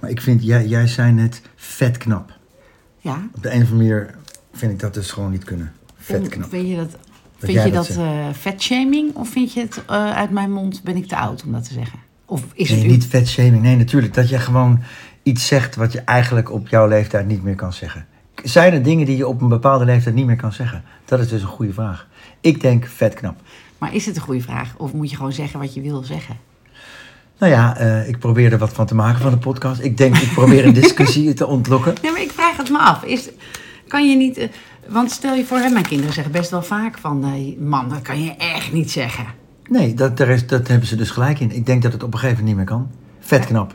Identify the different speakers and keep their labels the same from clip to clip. Speaker 1: Maar ik vind, jij, jij zei net vet knap.
Speaker 2: Ja.
Speaker 1: Op de een of andere manier vind ik dat dus gewoon niet kunnen. Vet
Speaker 2: Om-
Speaker 1: knap.
Speaker 2: Vind je dat, vind
Speaker 1: jij
Speaker 2: je
Speaker 1: dat
Speaker 2: dat eh, vetshaming of vind je het eh, uit mijn mond ben ik te oud om dat te zeggen? Of is
Speaker 1: Nee,
Speaker 2: het u-
Speaker 1: niet vet shaming. Nee, natuurlijk. Dat je gewoon iets zegt wat je eigenlijk op jouw leeftijd niet meer kan zeggen. Zijn er dingen die je op een bepaalde leeftijd niet meer kan zeggen? Dat is dus een goede vraag. Ik denk vet knap.
Speaker 2: Maar is het een goede vraag? Of moet je gewoon zeggen wat je wil zeggen?
Speaker 1: Nou ja, eh, ik probeer er wat van te maken van de podcast. Ik denk, ik probeer een discussie te ontlokken.
Speaker 2: Nee, maar ik vraag het me af. Is, kan je niet... eh, want stel je voor, hè, mijn kinderen zeggen best wel vaak van... eh, man, dat kan je echt niet zeggen.
Speaker 1: Nee, dat, daar is, dat hebben ze dus gelijk in. Ik denk dat het op een gegeven moment niet meer kan. Vet knap.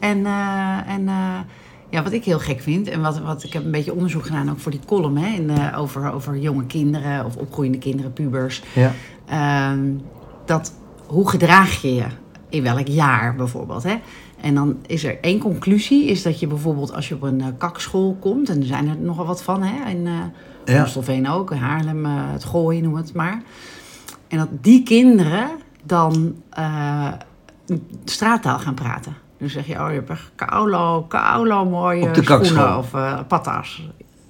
Speaker 2: En, eh, en eh, ja, wat ik heel gek vind, en wat, wat ik heb een beetje onderzoek gedaan ook voor die column, hè, in, eh, over, over jonge kinderen of opgroeiende kinderen, pubers.
Speaker 1: Ja.
Speaker 2: Ehm, dat hoe gedraag je je in welk jaar bijvoorbeeld. Hè? En dan is er één conclusie, is dat je bijvoorbeeld als je op een eh, kakschool komt, en er zijn er nogal wat van, hè, in eh
Speaker 1: Ja.
Speaker 2: Amstelveen ook, in Haarlem, eh, het Gooi, noem het maar. En dat die kinderen dan eh, straattaal gaan praten. Dan zeg je, oh, je hebt echt kaulo, kaulo mooie
Speaker 1: Op de
Speaker 2: schoenen
Speaker 1: kakschool.
Speaker 2: of eh patas.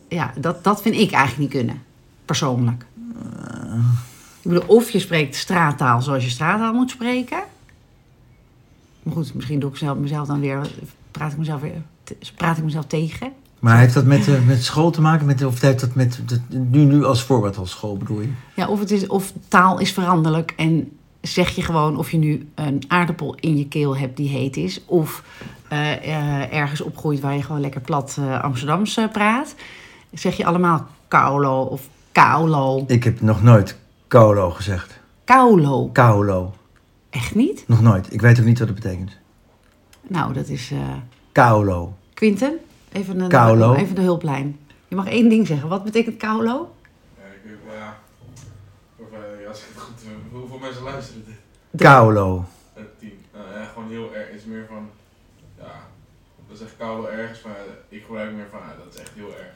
Speaker 2: Ja, dat, dat vind ik eigenlijk niet kunnen, persoonlijk.
Speaker 1: Eh.
Speaker 2: Ik bedoel, of je spreekt straattaal zoals je straattaal moet spreken. Maar goed, misschien doe ik zelf, mezelf dan weer, praat ik mezelf weer, te- praat ik mezelf tegen.
Speaker 1: Maar heeft dat met, eh, met school te maken? Met, of heeft dat met, dat- nu, nu als voorbeeld als school bedoel je?
Speaker 2: Ja, of, het is, of taal is veranderlijk en zeg je gewoon of je nu een aardappel in je keel hebt die heet is. Of eh, eh, ergens opgroeit waar je gewoon lekker plat eh Amsterdams eh, praat. Zeg je allemaal kaulo of kaulo.
Speaker 1: Ik heb nog nooit kaulo gezegd.
Speaker 2: Kaulo.
Speaker 1: Kaulo.
Speaker 2: Echt niet?
Speaker 1: Nog nooit. Ik weet ook niet wat het betekent.
Speaker 2: Nou, dat is... eh,
Speaker 1: Kaulo.
Speaker 2: Quinten, even, een,
Speaker 1: Kaulo.
Speaker 2: even de hulplijn. Je mag één ding zeggen. Wat betekent kaulo?
Speaker 3: Ja, ik weet wel, ja. Of, eh, ja, als ik het goed doe, hoeveel mensen luisteren dit?
Speaker 1: Kaulo.
Speaker 3: Het team. Nou, ja, gewoon heel erg, is meer van, ja, dat is echt koude ergens, maar ik gebruik meer van, ah, dat is echt heel erg.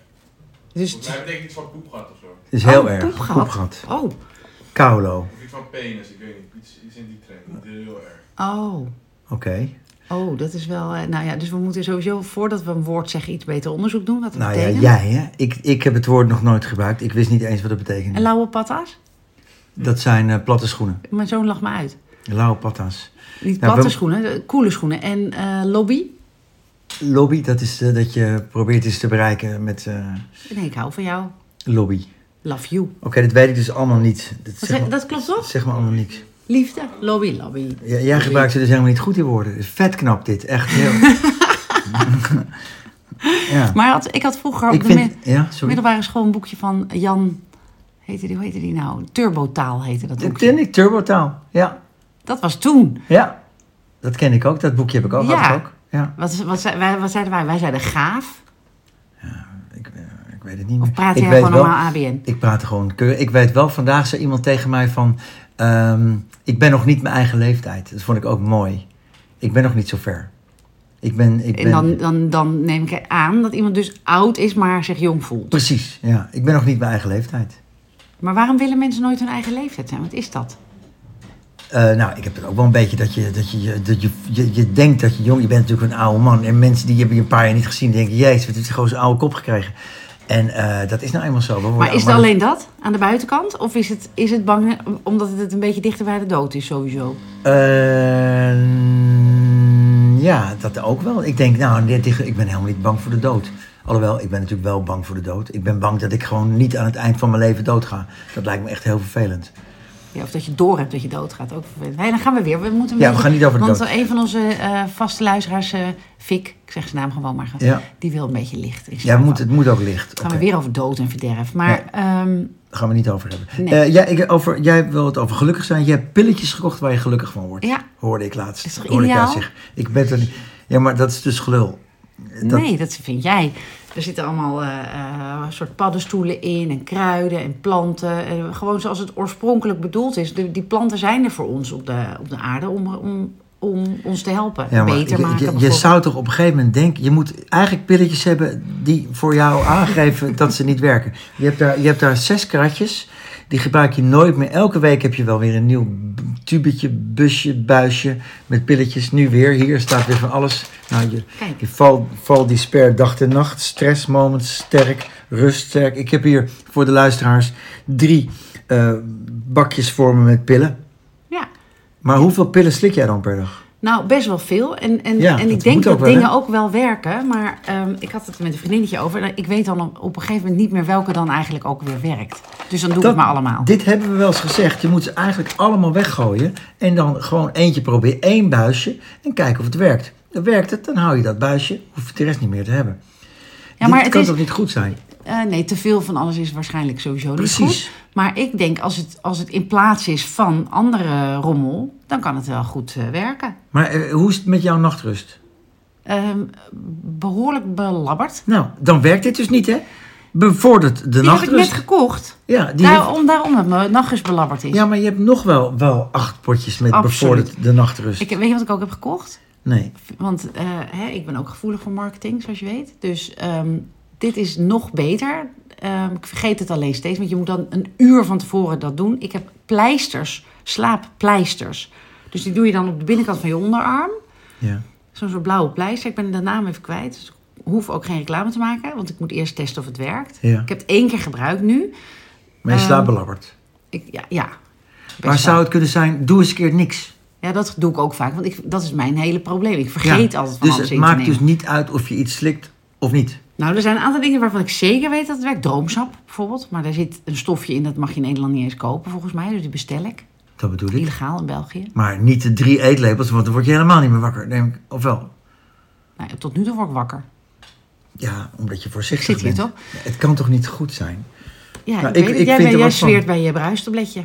Speaker 2: Dus
Speaker 3: Volgens mij betekent iets van poepgat of zo.
Speaker 1: Is heel
Speaker 2: Oh,
Speaker 1: erg.
Speaker 2: poepgat.
Speaker 1: Poepgat.
Speaker 2: Oh,
Speaker 1: Kaulo.
Speaker 3: Of iets van penis, ik weet niet, iets, iets in die trend, niet heel, heel erg.
Speaker 2: oh,
Speaker 1: Oké.
Speaker 2: oh, dat is wel... eh, Nou ja, dus we moeten sowieso voordat we een woord zeggen iets beter onderzoek doen. Wat het
Speaker 1: Nou ja,
Speaker 2: betekent.
Speaker 1: jij hè. Ik, ik heb het woord nog nooit gebruikt. Ik wist niet eens wat het betekende.
Speaker 2: En lauwe patas?
Speaker 1: Dat zijn eh, platte schoenen.
Speaker 2: Mijn zoon lag me uit.
Speaker 1: Lauwe patas.
Speaker 2: Niet
Speaker 1: Ja,
Speaker 2: platte
Speaker 1: wel-
Speaker 2: schoenen, eh, coole schoenen. En eh, lobby?
Speaker 1: Lobby, dat is eh, dat je probeert iets te bereiken met eh,
Speaker 2: Nee, ik hou van jou.
Speaker 1: lobby.
Speaker 2: Love you.
Speaker 1: Oké, dat weet ik dus allemaal niet. Dat,
Speaker 2: Dat,
Speaker 1: zeg maar,
Speaker 2: dat klopt toch?
Speaker 1: zeg maar allemaal niks.
Speaker 2: Liefde, lobby, lobby.
Speaker 1: J- jij gebruikt ze dus helemaal niet goed in woorden. Vet knap dit, echt heel. ja.
Speaker 2: Maar had, ik had vroeger op
Speaker 1: ik
Speaker 2: de
Speaker 1: vind,
Speaker 2: mi-
Speaker 1: ja, sorry.
Speaker 2: middelbare school een boekje van Jan... Heette die, hoe heette die nou? Turbotaal heette dat
Speaker 1: Dat
Speaker 2: boekje.
Speaker 1: ken ik, Turbotaal. Ja,
Speaker 2: Dat was toen.
Speaker 1: ja. Dat ken ik ook, dat boekje heb ik ook. had
Speaker 2: Ja.
Speaker 1: ik ook. Ja,
Speaker 2: Wat, wat, zei- wij- wat zeiden wij? Wij zeiden gaaf.
Speaker 1: ik, eh, ik weet het niet meer.
Speaker 2: Of praat
Speaker 1: ik
Speaker 2: jij
Speaker 1: weet
Speaker 2: gewoon
Speaker 1: wel,
Speaker 2: normaal ABN?
Speaker 1: Ik praat gewoon keur. Ik weet wel, vandaag zei iemand tegen mij van... ehm, ik ben nog niet mijn eigen leeftijd. Dat vond ik ook mooi. Ik ben nog niet zo ver. Ik ben... Ik ben
Speaker 2: En dan, dan, dan neem ik aan dat iemand dus oud is, maar zich jong voelt.
Speaker 1: Precies, ja. Ik ben nog niet mijn eigen leeftijd.
Speaker 2: Maar waarom willen mensen nooit hun eigen leeftijd zijn? Wat is dat?
Speaker 1: Eh, nou, ik heb het ook wel een beetje dat je, dat je, dat je, je, je denkt dat je jong... Je bent natuurlijk een oude man. En mensen die hebben je een paar jaar niet gezien... die denken, jezus, wat heeft hij gewoon zo'n oude kop gekregen. En eh, dat is nou eenmaal zo. We worden
Speaker 2: Maar is het
Speaker 1: allemaal-
Speaker 2: alleen dat aan de buitenkant? Of is het, is het bang omdat het een beetje dichter bij de dood is sowieso?
Speaker 1: Eh, ja, dat ook wel. Ik denk, nou, dit- ik ben helemaal niet bang voor de dood. Alhoewel, ik ben natuurlijk wel bang voor de dood. Ik ben bang dat ik gewoon niet aan het eind van mijn leven doodga. Dat lijkt me echt heel vervelend.
Speaker 2: Ja, of dat je door hebt dat je doodgaat. Ook vervelend. Hé, dan gaan we weer. We moeten een
Speaker 1: Ja, we gaan niet over de
Speaker 2: want
Speaker 1: dood.
Speaker 2: een van onze eh, vaste luisteraars, eh Fik, ik zeg zijn naam gewoon maar,
Speaker 1: Ja.
Speaker 2: die wil een beetje licht. in
Speaker 1: Ja,
Speaker 2: slaap
Speaker 1: we moeten,
Speaker 2: vallen.
Speaker 1: het moet ook licht.
Speaker 2: gaan
Speaker 1: Oké,
Speaker 2: we weer over dood en verderf. Maar ehm,
Speaker 1: Daar gaan we niet over hebben.
Speaker 2: Nee.
Speaker 1: Eh, jij, ik, over, jij wil het over gelukkig zijn. Je hebt pilletjes gekocht waar je gelukkig van wordt.
Speaker 2: Ja.
Speaker 1: Hoorde ik laatst.
Speaker 2: Is toch
Speaker 1: Hoorde ik jou
Speaker 2: ideaal?
Speaker 1: zeggen. Ik ben er niet. Ja, maar dat is dus gelul. Dat-
Speaker 2: Nee, dat vind jij. Er zitten allemaal eh, eh, soort paddenstoelen in en kruiden en planten. Eh, gewoon zoals het oorspronkelijk bedoeld is. De- die planten zijn er voor ons op de, op de aarde om, om, om ons te helpen.
Speaker 1: Ja, maar
Speaker 2: Beter
Speaker 1: je-
Speaker 2: maken.
Speaker 1: je- je,
Speaker 2: bijvoorbeeld.
Speaker 1: zou toch op een gegeven moment denken... je moet eigenlijk pilletjes hebben die voor jou aangeven dat ze niet werken. Je hebt daar, je hebt daar zes kratjes. Die gebruik je nooit meer. Elke week heb je wel weer een nieuw b- tubetje, busje, buisje met pilletjes. Nu weer. Hier staat weer van alles. Nou, je,
Speaker 2: Kijk.
Speaker 1: je val, val despair dag en nacht. Stress moments sterk. Rust sterk. Ik heb hier voor de luisteraars drie eh, bakjes voor me met pillen.
Speaker 2: Ja.
Speaker 1: Maar hoeveel pillen slik jij dan per dag?
Speaker 2: Nou, best wel veel. En, en,
Speaker 1: Ja,
Speaker 2: en
Speaker 1: dat
Speaker 2: ik denk
Speaker 1: moet
Speaker 2: dat
Speaker 1: ook wel,
Speaker 2: dingen
Speaker 1: hè?
Speaker 2: ook wel werken. Maar ehm, ik had het met een vriendinnetje over. Nou, ik weet dan op, op een gegeven moment niet meer welke dan eigenlijk ook weer werkt. Dus dan doe ik
Speaker 1: Dat-
Speaker 2: het maar allemaal.
Speaker 1: Dit hebben we wel eens gezegd. Je moet ze eigenlijk allemaal weggooien. En dan gewoon eentje proberen. één buisje. En kijken of het werkt. Dan werkt het, dan hou je dat buisje. Hoef je de rest niet meer te hebben.
Speaker 2: Ja, maar
Speaker 1: Dit
Speaker 2: het
Speaker 1: kan
Speaker 2: is,
Speaker 1: toch niet goed zijn?
Speaker 2: eh, nee, te veel van alles is waarschijnlijk sowieso niet
Speaker 1: Precies.
Speaker 2: goed. Maar ik denk als het, als het in plaats is van andere rommel, dan kan het wel goed eh, werken.
Speaker 1: Maar eh, hoe is het met jouw nachtrust?
Speaker 2: Ehm, behoorlijk belabberd.
Speaker 1: Nou, dan werkt dit dus niet, hè? Bevordert de
Speaker 2: Die heb ik net Nou,
Speaker 1: nachtrust.
Speaker 2: gekocht.
Speaker 1: Ja, die heeft-
Speaker 2: Daarom, daarom dat mijn nachtjes belabberd is.
Speaker 1: ja, maar je hebt nog wel, wel acht potjes met
Speaker 2: Absoluut.
Speaker 1: bevordert de nachtrust.
Speaker 2: Ik, weet je wat ik ook heb gekocht?
Speaker 1: Nee.
Speaker 2: Want eh, hè, ik ben ook gevoelig voor marketing, zoals je weet. Dus ehm, dit is nog beter. Ehm, ik vergeet het alleen steeds, want je moet dan een uur van tevoren dat doen. Ik heb pleisters, slaappleisters. Dus die doe je dan op de binnenkant van je onderarm.
Speaker 1: Ja.
Speaker 2: Zo'n soort blauwe pleister. Ik ben de naam even kwijt. Dus ik hoef ook geen reclame te maken, want ik moet eerst testen of het werkt.
Speaker 1: Ja.
Speaker 2: Ik heb het één keer gebruikt nu.
Speaker 1: Maar je
Speaker 2: Ehm,
Speaker 1: slaapt belabberd.
Speaker 2: Ik, ja, ja. Best
Speaker 1: Maar zou
Speaker 2: wel.
Speaker 1: het kunnen zijn, doe eens een keer niks.
Speaker 2: Ja, dat doe ik ook vaak, want ik, dat is mijn hele probleem. Ik vergeet
Speaker 1: Ja,
Speaker 2: altijd van
Speaker 1: Dus
Speaker 2: alles
Speaker 1: het
Speaker 2: in te
Speaker 1: maakt
Speaker 2: nemen.
Speaker 1: dus niet uit of je iets slikt of niet.
Speaker 2: Nou, er zijn een aantal dingen waarvan ik zeker weet dat het werkt. Droomsap bijvoorbeeld. Maar daar zit een stofje in, dat mag je in Nederland niet eens kopen volgens mij. Dus die bestel ik.
Speaker 1: Dat bedoel ik.
Speaker 2: Illegaal in België.
Speaker 1: Maar niet de drie eetlepels, want dan word je helemaal niet meer wakker, neem ik. Of wel?
Speaker 2: Nou, tot nu toe word ik wakker.
Speaker 1: Ja, omdat je voorzichtig
Speaker 2: Ik zit hier
Speaker 1: bent. Het kan toch niet goed zijn?
Speaker 2: Ja,
Speaker 1: Nou,
Speaker 2: ik,
Speaker 1: ik-
Speaker 2: weet het.
Speaker 1: ik
Speaker 2: jij,
Speaker 1: vind
Speaker 2: bent-
Speaker 1: er
Speaker 2: jij
Speaker 1: wat van.
Speaker 2: zweert bij je bruistabletje.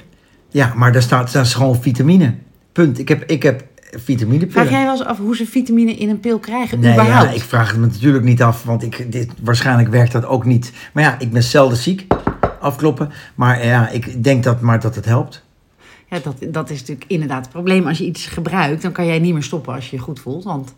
Speaker 1: Ja, maar daar staat, daar is gewoon vitamine. Punt. Ik heb, ik heb
Speaker 2: Vraag
Speaker 1: vitaminepillen.
Speaker 2: jij wel eens af hoe ze vitamine in een pil krijgen?
Speaker 1: Nee, ja,
Speaker 2: überhaupt?
Speaker 1: ik vraag het me natuurlijk niet af, want ik, dit, waarschijnlijk werkt dat ook niet. Maar ja, ik ben zelden ziek, afkloppen. Maar ja, ik denk dat, maar dat het helpt.
Speaker 2: Ja, dat, dat is natuurlijk inderdaad het probleem. Als je iets gebruikt, dan kan jij niet meer stoppen als je je goed voelt. Want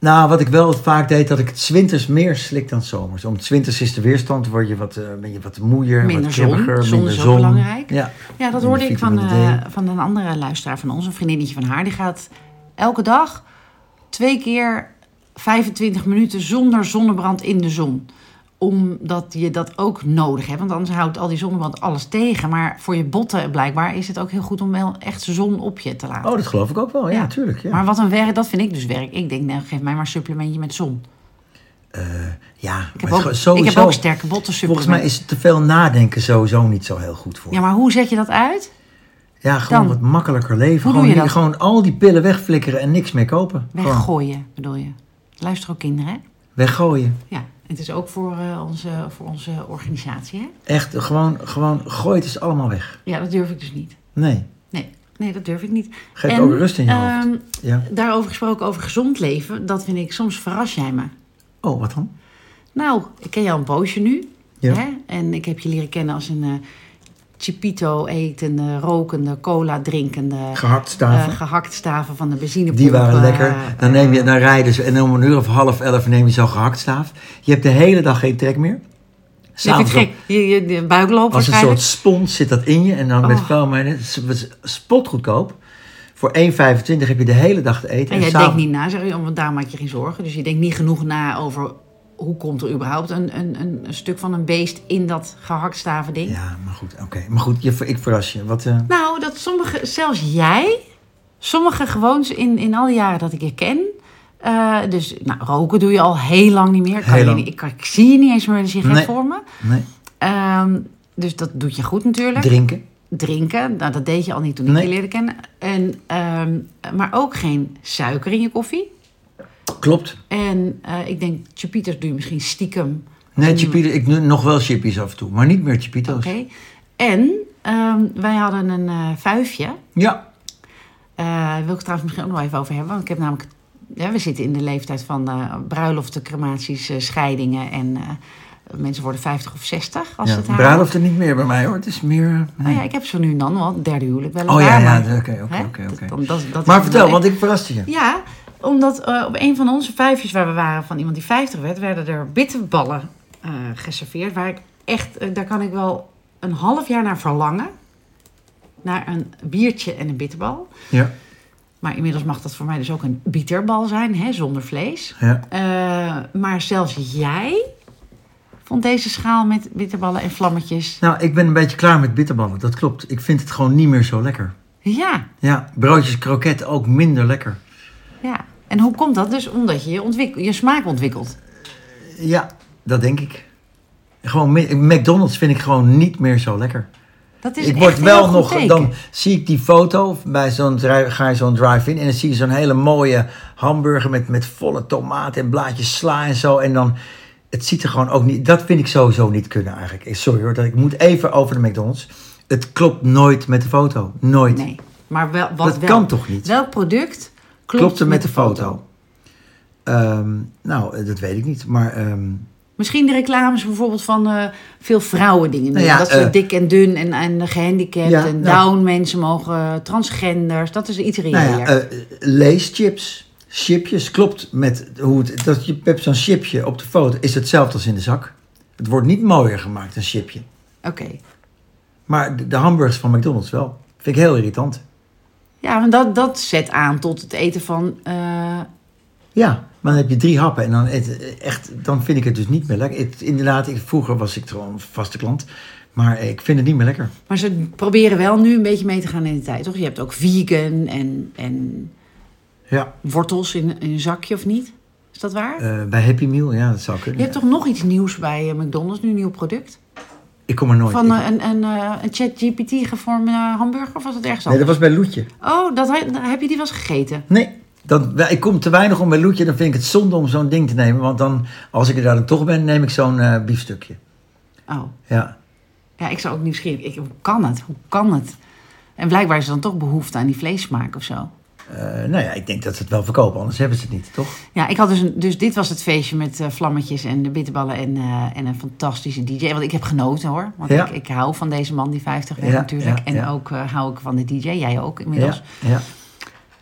Speaker 1: Nou, wat ik wel vaak deed, dat ik het 's winters meer slik dan 's zomers. Om 's winters is de weerstand, word je wat, eh, ben je wat moeier,
Speaker 2: Minder
Speaker 1: wat
Speaker 2: zon.
Speaker 1: kribbiger,
Speaker 2: Zon
Speaker 1: minder
Speaker 2: is ook
Speaker 1: zon.
Speaker 2: belangrijk.
Speaker 1: Ja,
Speaker 2: Ja, dat
Speaker 1: En
Speaker 2: hoorde
Speaker 1: de
Speaker 2: ik van,
Speaker 1: vitamine D.
Speaker 2: eh, van een andere luisteraar van ons, een vriendinnetje van haar. Die gaat elke dag twee keer 25 minuten zonder zonnebrand in de zon. Omdat je dat ook nodig hebt. Want anders houdt al die zonnebrand alles tegen. Maar voor je botten blijkbaar is het ook heel goed om wel echt zon op je te laten.
Speaker 1: Oh, dat geloof ik ook wel. Ja,
Speaker 2: Ja.
Speaker 1: tuurlijk. Ja.
Speaker 2: Maar wat een werk, dat vind ik dus werk. Ik denk, nou, geef mij maar een supplementje met zon.
Speaker 1: Eh, ja,
Speaker 2: Ik heb,
Speaker 1: maar
Speaker 2: ook,
Speaker 1: het- sowieso,
Speaker 2: ik heb ook sterke botten
Speaker 1: Volgens mij
Speaker 2: supplementen.
Speaker 1: is te veel nadenken sowieso niet zo heel goed voor.
Speaker 2: Ja,
Speaker 1: Ja,
Speaker 2: maar hoe zet je dat uit?
Speaker 1: gewoon
Speaker 2: dan-
Speaker 1: wat makkelijker leven.
Speaker 2: Hoe doe
Speaker 1: gewoon,
Speaker 2: je dat?
Speaker 1: gewoon al die pillen wegflikkeren en niks meer kopen. Gewoon
Speaker 2: Weggooien, bedoel je. Luister ook kinderen, hè?
Speaker 1: weggooien.
Speaker 2: Ja, het is ook voor, eh, onze, voor onze organisatie, hè?
Speaker 1: Echt, gewoon, gewoon gooi het eens allemaal weg.
Speaker 2: Ja, dat durf ik dus niet.
Speaker 1: Nee,
Speaker 2: Nee, nee dat durf ik niet.
Speaker 1: geef
Speaker 2: En,
Speaker 1: ook rust in je hoofd.
Speaker 2: ehm,
Speaker 1: Ja.
Speaker 2: Daarover gesproken, over gezond leven, dat vind ik, soms verras jij me.
Speaker 1: Oh, wat dan?
Speaker 2: Nou, ik ken jou een poosje nu.
Speaker 1: Ja.
Speaker 2: Hè? En ik heb je leren kennen als een eh, chipito-etende, rokende, cola-drinkende...
Speaker 1: Gehaktstaven.
Speaker 2: eh, gehaktstaven van de benzinepomp.
Speaker 1: Die waren
Speaker 2: eh,
Speaker 1: lekker. Dan, neem je,
Speaker 2: eh,
Speaker 1: dan rijden ze en om een uur of half elf neem je zo'n gehaktstaaf. Je hebt de hele dag geen trek meer.
Speaker 2: je vindt
Speaker 1: S'avonds
Speaker 2: het gek. Je, je, je buik loopt
Speaker 1: als een
Speaker 2: waarschijnlijk.
Speaker 1: soort spons zit dat in je. En dan met
Speaker 2: Oh.
Speaker 1: vuilmijnen. Het is- het is spotgoedkoop. Voor 1,25 heb je de hele dag te eten.
Speaker 2: En jij denkt
Speaker 1: s'avonds-
Speaker 2: niet na, zeg je, oh, want daar maak je geen zorgen. Dus je denkt niet genoeg na over hoe komt er überhaupt een, een, een, een stuk van een beest in dat gehaktstaven ding.
Speaker 1: Ja, maar goed. Oké. Maar goed, je, ik verras je. Wat, eh,
Speaker 2: Nou, dat sommige, zelfs jij, sommige gewoons in, in al die jaren dat ik je ken. eh, dus nou, roken doe je al heel lang niet meer. Kan
Speaker 1: Heel
Speaker 2: je
Speaker 1: lang.
Speaker 2: niet- ik, kan- ik zie je niet eens meer een sigaret
Speaker 1: Nee.
Speaker 2: voor me.
Speaker 1: nee.
Speaker 2: Ehm, dus dat doet je goed natuurlijk.
Speaker 1: Drinken.
Speaker 2: Drinken, nou, dat deed je al niet toen ik
Speaker 1: Nee.
Speaker 2: je leerde kennen. En, ehm, maar ook geen suiker in je koffie.
Speaker 1: Klopt.
Speaker 2: En eh, ik denk, Chupitos doe je misschien stiekem.
Speaker 1: Nee, chipito, ik nu nog wel chippies af en toe. Maar niet meer chipito's.
Speaker 2: Hmm. Oké. En ehm, wij hadden een eh, vuifje.
Speaker 1: Ja.
Speaker 2: Eh wil ik het trouwens misschien ook nog even over hebben. Want ik heb namelijk... Ja, we zitten in de leeftijd van eh, bruiloften, crematies, eh, scheidingen. En eh, mensen worden 50 of 60 als
Speaker 1: ja.
Speaker 2: het haar...
Speaker 1: Bruiloft er niet meer bij mij hoor. Het is meer... eh,
Speaker 2: Nou
Speaker 1: nee.
Speaker 2: ja, ik heb zo nu en dan wel. een Derde huwelijk wel een
Speaker 1: Oh ja,
Speaker 2: paar,
Speaker 1: ja.
Speaker 2: maar,
Speaker 1: Oké, oké,
Speaker 2: hè,
Speaker 1: oké,
Speaker 2: dat-
Speaker 1: oké.
Speaker 2: dan- dat- dat is
Speaker 1: Maar
Speaker 2: wel
Speaker 1: vertel,
Speaker 2: echt-
Speaker 1: want ik verraste je.
Speaker 2: Ja, omdat eh, op een van onze vijfjes waar we waren van iemand die 50 werd, werden er bitterballen eh, geserveerd. Waar ik echt, eh, daar kan ik wel een half jaar naar verlangen. Naar een biertje en een bitterbal.
Speaker 1: Ja,
Speaker 2: Maar inmiddels mag dat voor mij dus ook een bieterbal zijn, hè, zonder vlees.
Speaker 1: ja.
Speaker 2: Eh, maar zelfs jij vond deze schaal met bitterballen en vlammetjes.
Speaker 1: Nou, ik ben een beetje klaar met bitterballen, dat klopt. Ik vind het gewoon niet meer zo lekker.
Speaker 2: Ja,
Speaker 1: Ja, broodjes kroket ook minder lekker.
Speaker 2: ja. En hoe komt dat? Dus omdat je je, ontwik- je smaak ontwikkelt.
Speaker 1: Ja, dat denk ik. Gewoon, mi- McDonald's vind ik gewoon niet meer zo lekker.
Speaker 2: Dat is
Speaker 1: Ik
Speaker 2: echt
Speaker 1: word
Speaker 2: een
Speaker 1: wel
Speaker 2: heel goed
Speaker 1: nog,
Speaker 2: teken.
Speaker 1: dan zie ik die foto, bij zo'n, dri- ga je zo'n drive-in en dan zie je zo'n hele mooie hamburger met, met volle tomaat en blaadjes sla en zo. En dan, het ziet er gewoon ook niet, dat vind ik sowieso niet kunnen eigenlijk. Ik- Sorry hoor, dat, ik moet even over de McDonald's. Het klopt nooit met de foto, nooit.
Speaker 2: Nee, maar wel, wat
Speaker 1: dat
Speaker 2: wel.
Speaker 1: kan toch niet?
Speaker 2: Welk product klopt,
Speaker 1: Klopte met de foto. Ehm, nou, eh, dat weet ik niet, maar ehm,
Speaker 2: Misschien de reclames bijvoorbeeld van eh, veel vrouwen dingen.
Speaker 1: Nou ja,
Speaker 2: dat ze
Speaker 1: eh,
Speaker 2: dik en dun en, en gehandicapt
Speaker 1: Ja,
Speaker 2: en
Speaker 1: nou.
Speaker 2: down mensen mogen, transgenders. Dat is iets reëler.
Speaker 1: nou ja, eh, leeschips, chipjes, klopt met hoe het, dat je hebt zo'n chipje op de foto is hetzelfde als in de zak. Het wordt niet mooier gemaakt, een chipje.
Speaker 2: Oké.
Speaker 1: Maar de, de hamburgers van McDonald's wel. Vind ik heel irritant.
Speaker 2: Ja, want dat, dat zet aan tot het eten van... eh,
Speaker 1: Ja, maar dan heb je drie happen en dan, eet- echt, dan vind ik het dus niet meer lekker. Het- inderdaad, ik, vroeger was ik gewoon vaste klant, maar ik vind het niet meer lekker.
Speaker 2: maar ze proberen wel nu een beetje mee te gaan in de tijd, toch? Je hebt ook vegan en, en
Speaker 1: Ja,
Speaker 2: wortels in, in een zakje, of niet? Is dat waar?
Speaker 1: eh, bij Happy Meal, ja, dat zou kunnen.
Speaker 2: Je hebt toch nog iets nieuws bij eh, McDonald's, nu een nieuw product?
Speaker 1: Ik kom er nooit
Speaker 2: Van
Speaker 1: in.
Speaker 2: eh, een, een, eh, een ChatGPT gevormde hamburger, of was het ergens
Speaker 1: Nee, dat
Speaker 2: anders?
Speaker 1: was bij Loetje.
Speaker 2: Oh, dat, he- heb je die wel eens gegeten?
Speaker 1: Nee, dan, ik kom te weinig om bij Loetje. Dan vind ik het zonde om zo'n ding te nemen. Want dan, als ik er daar dan toch ben, neem ik zo'n eh, biefstukje.
Speaker 2: Oh,
Speaker 1: Ja.
Speaker 2: ja, ik zou ook nieuwsgierig... Ik, hoe kan het? Hoe kan het? En blijkbaar is er dan toch behoefte aan die vleessmaak of zo.
Speaker 1: Eh, nou ja, ik denk dat ze het wel verkopen. Anders hebben ze het niet, toch?
Speaker 2: Ja, ik had dus, een, dus dit was het feestje met eh, vlammetjes en de bitterballen en, eh, en een fantastische DJ. Want ik heb genoten hoor. Want
Speaker 1: Ja.
Speaker 2: ik, ik hou van deze man die 50 werd
Speaker 1: Ja,
Speaker 2: natuurlijk.
Speaker 1: ja,
Speaker 2: en
Speaker 1: ja.
Speaker 2: ook eh, hou ik van de DJ. Jij ook inmiddels.
Speaker 1: Ja,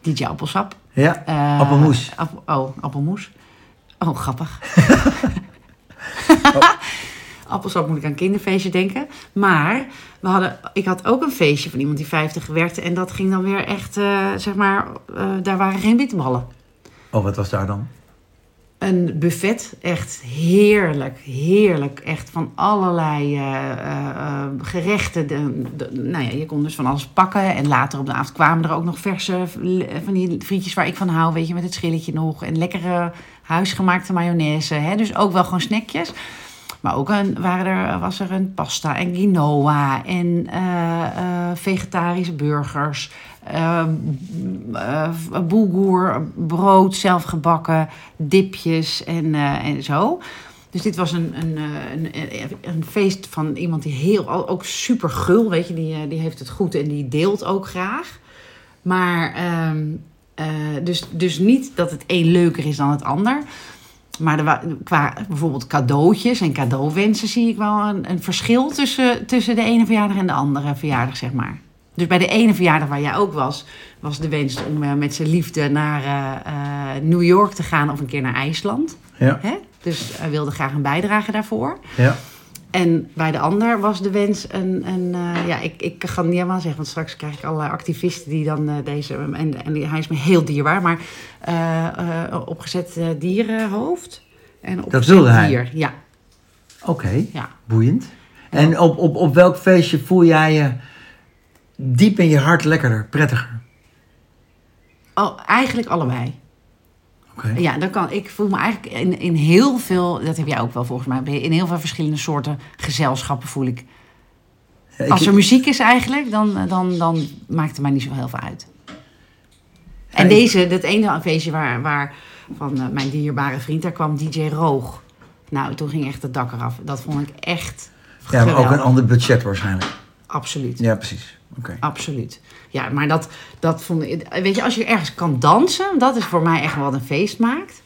Speaker 1: ja.
Speaker 2: DJ Appelsap.
Speaker 1: ja.
Speaker 2: Eh,
Speaker 1: Appelmoes.
Speaker 2: app- oh, appelmoes. Oh, grappig. Appelsap moet ik aan kinderfeestje denken. Maar we hadden, ik had ook een feestje van iemand die 50 werd. En dat ging dan weer echt, eh, zeg maar, eh, daar waren geen bitterballen.
Speaker 1: Oh, wat was daar dan?
Speaker 2: Een buffet, echt heerlijk, heerlijk. Echt van allerlei eh, eh, eh, gerechten. De, de- nou ja, je kon dus van alles pakken. En later op de avond kwamen er ook nog verse eh, van die frietjes waar ik van hou. Weet je, met het schilletje nog. En lekkere huisgemaakte mayonaise. Hè? Dus ook wel gewoon snackjes. Maar ook een, waren er, was er een pasta en quinoa en eh, eh, vegetarische burgers. eh, b- eh, boelgoer, brood zelf gebakken, dipjes en, eh, en zo. Dus dit was een, een, eh, een, een- een feest van iemand die heel, ook super gul, weet je, die, eh, die heeft het goed en die deelt ook graag. Maar, ehm, eh, dus, dus niet dat het een leuker is dan het ander. Maar er wa- qua bijvoorbeeld cadeautjes en cadeauwensen zie ik wel een, een verschil tussen, tussen de ene verjaardag en de andere verjaardag, zeg maar. Dus bij de ene verjaardag waar jij ook was, was de wens om eh, met zijn liefde naar eh, eh, New York te gaan of een keer naar IJsland.
Speaker 1: Ja,
Speaker 2: Hè? Dus hij wilde graag een bijdrage daarvoor.
Speaker 1: ja.
Speaker 2: En bij de ander was de wens een... een eh, ja, ik, ik ga het niet helemaal zeggen, want straks krijg ik allerlei activisten die dan eh, deze... En, en die- hij is me heel dierbaar, maar eh, eh, opgezet eh, dierenhoofd. En opgezet
Speaker 1: wilde hij?
Speaker 2: dier. Ja,
Speaker 1: Oké,
Speaker 2: ja.
Speaker 1: boeiend. En op, op, op welk feestje voel jij je diep in je hart lekkerder, prettiger?
Speaker 2: Oh, eigenlijk allebei.
Speaker 1: Oké.
Speaker 2: Ja, dat kan. Ik voel me eigenlijk in, in heel veel... Dat heb jij ook wel volgens mij. ben je In heel veel verschillende soorten gezelschappen voel ik.
Speaker 1: Ja, ik-
Speaker 2: Als er muziek is eigenlijk, dan, dan, dan maakt het mij niet zo heel veel uit. En
Speaker 1: ik-
Speaker 2: deze, dat ene feestje waar, waar van eh, mijn dierbare vriend, daar kwam DJ Roog. Nou, toen ging echt het dak eraf. Dat vond ik echt
Speaker 1: ja, maar
Speaker 2: geweldig.
Speaker 1: ook een ander budget waarschijnlijk.
Speaker 2: Absoluut,
Speaker 1: Ja, precies. Oké.
Speaker 2: absoluut. Ja, maar dat, dat vond ik... Weet je, als je ergens kan dansen, dat is voor mij echt wat een feest maakt.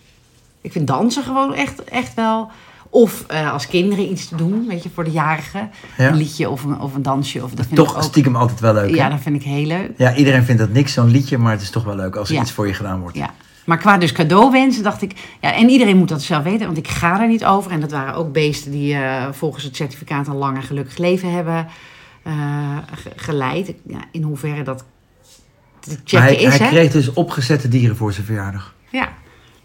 Speaker 2: Ik vind dansen gewoon echt, echt wel... Of eh, als kinderen iets te doen, weet je, voor de jarigen.
Speaker 1: Ja.
Speaker 2: Een liedje of een, of een dansje. Of, dat vind ik
Speaker 1: Toch
Speaker 2: ook-
Speaker 1: stiekem altijd wel leuk. hè?
Speaker 2: ja, dat vind ik heel leuk.
Speaker 1: Ja, iedereen vindt dat niks, zo'n liedje, maar het is toch wel leuk als er
Speaker 2: Ja.
Speaker 1: iets voor je gedaan wordt.
Speaker 2: Ja. Maar qua dus cadeauwensen dacht ik... Ja, en iedereen moet dat zelf weten, want ik ga er niet over. En dat waren ook beesten die eh, volgens het certificaat een lang en gelukkig leven hebben eh, ge- geleid. Ik- Ja, in hoeverre dat te checken
Speaker 1: Maar hij,
Speaker 2: is,
Speaker 1: hij
Speaker 2: hè?
Speaker 1: kreeg dus opgezette dieren voor zijn verjaardag.
Speaker 2: Ja,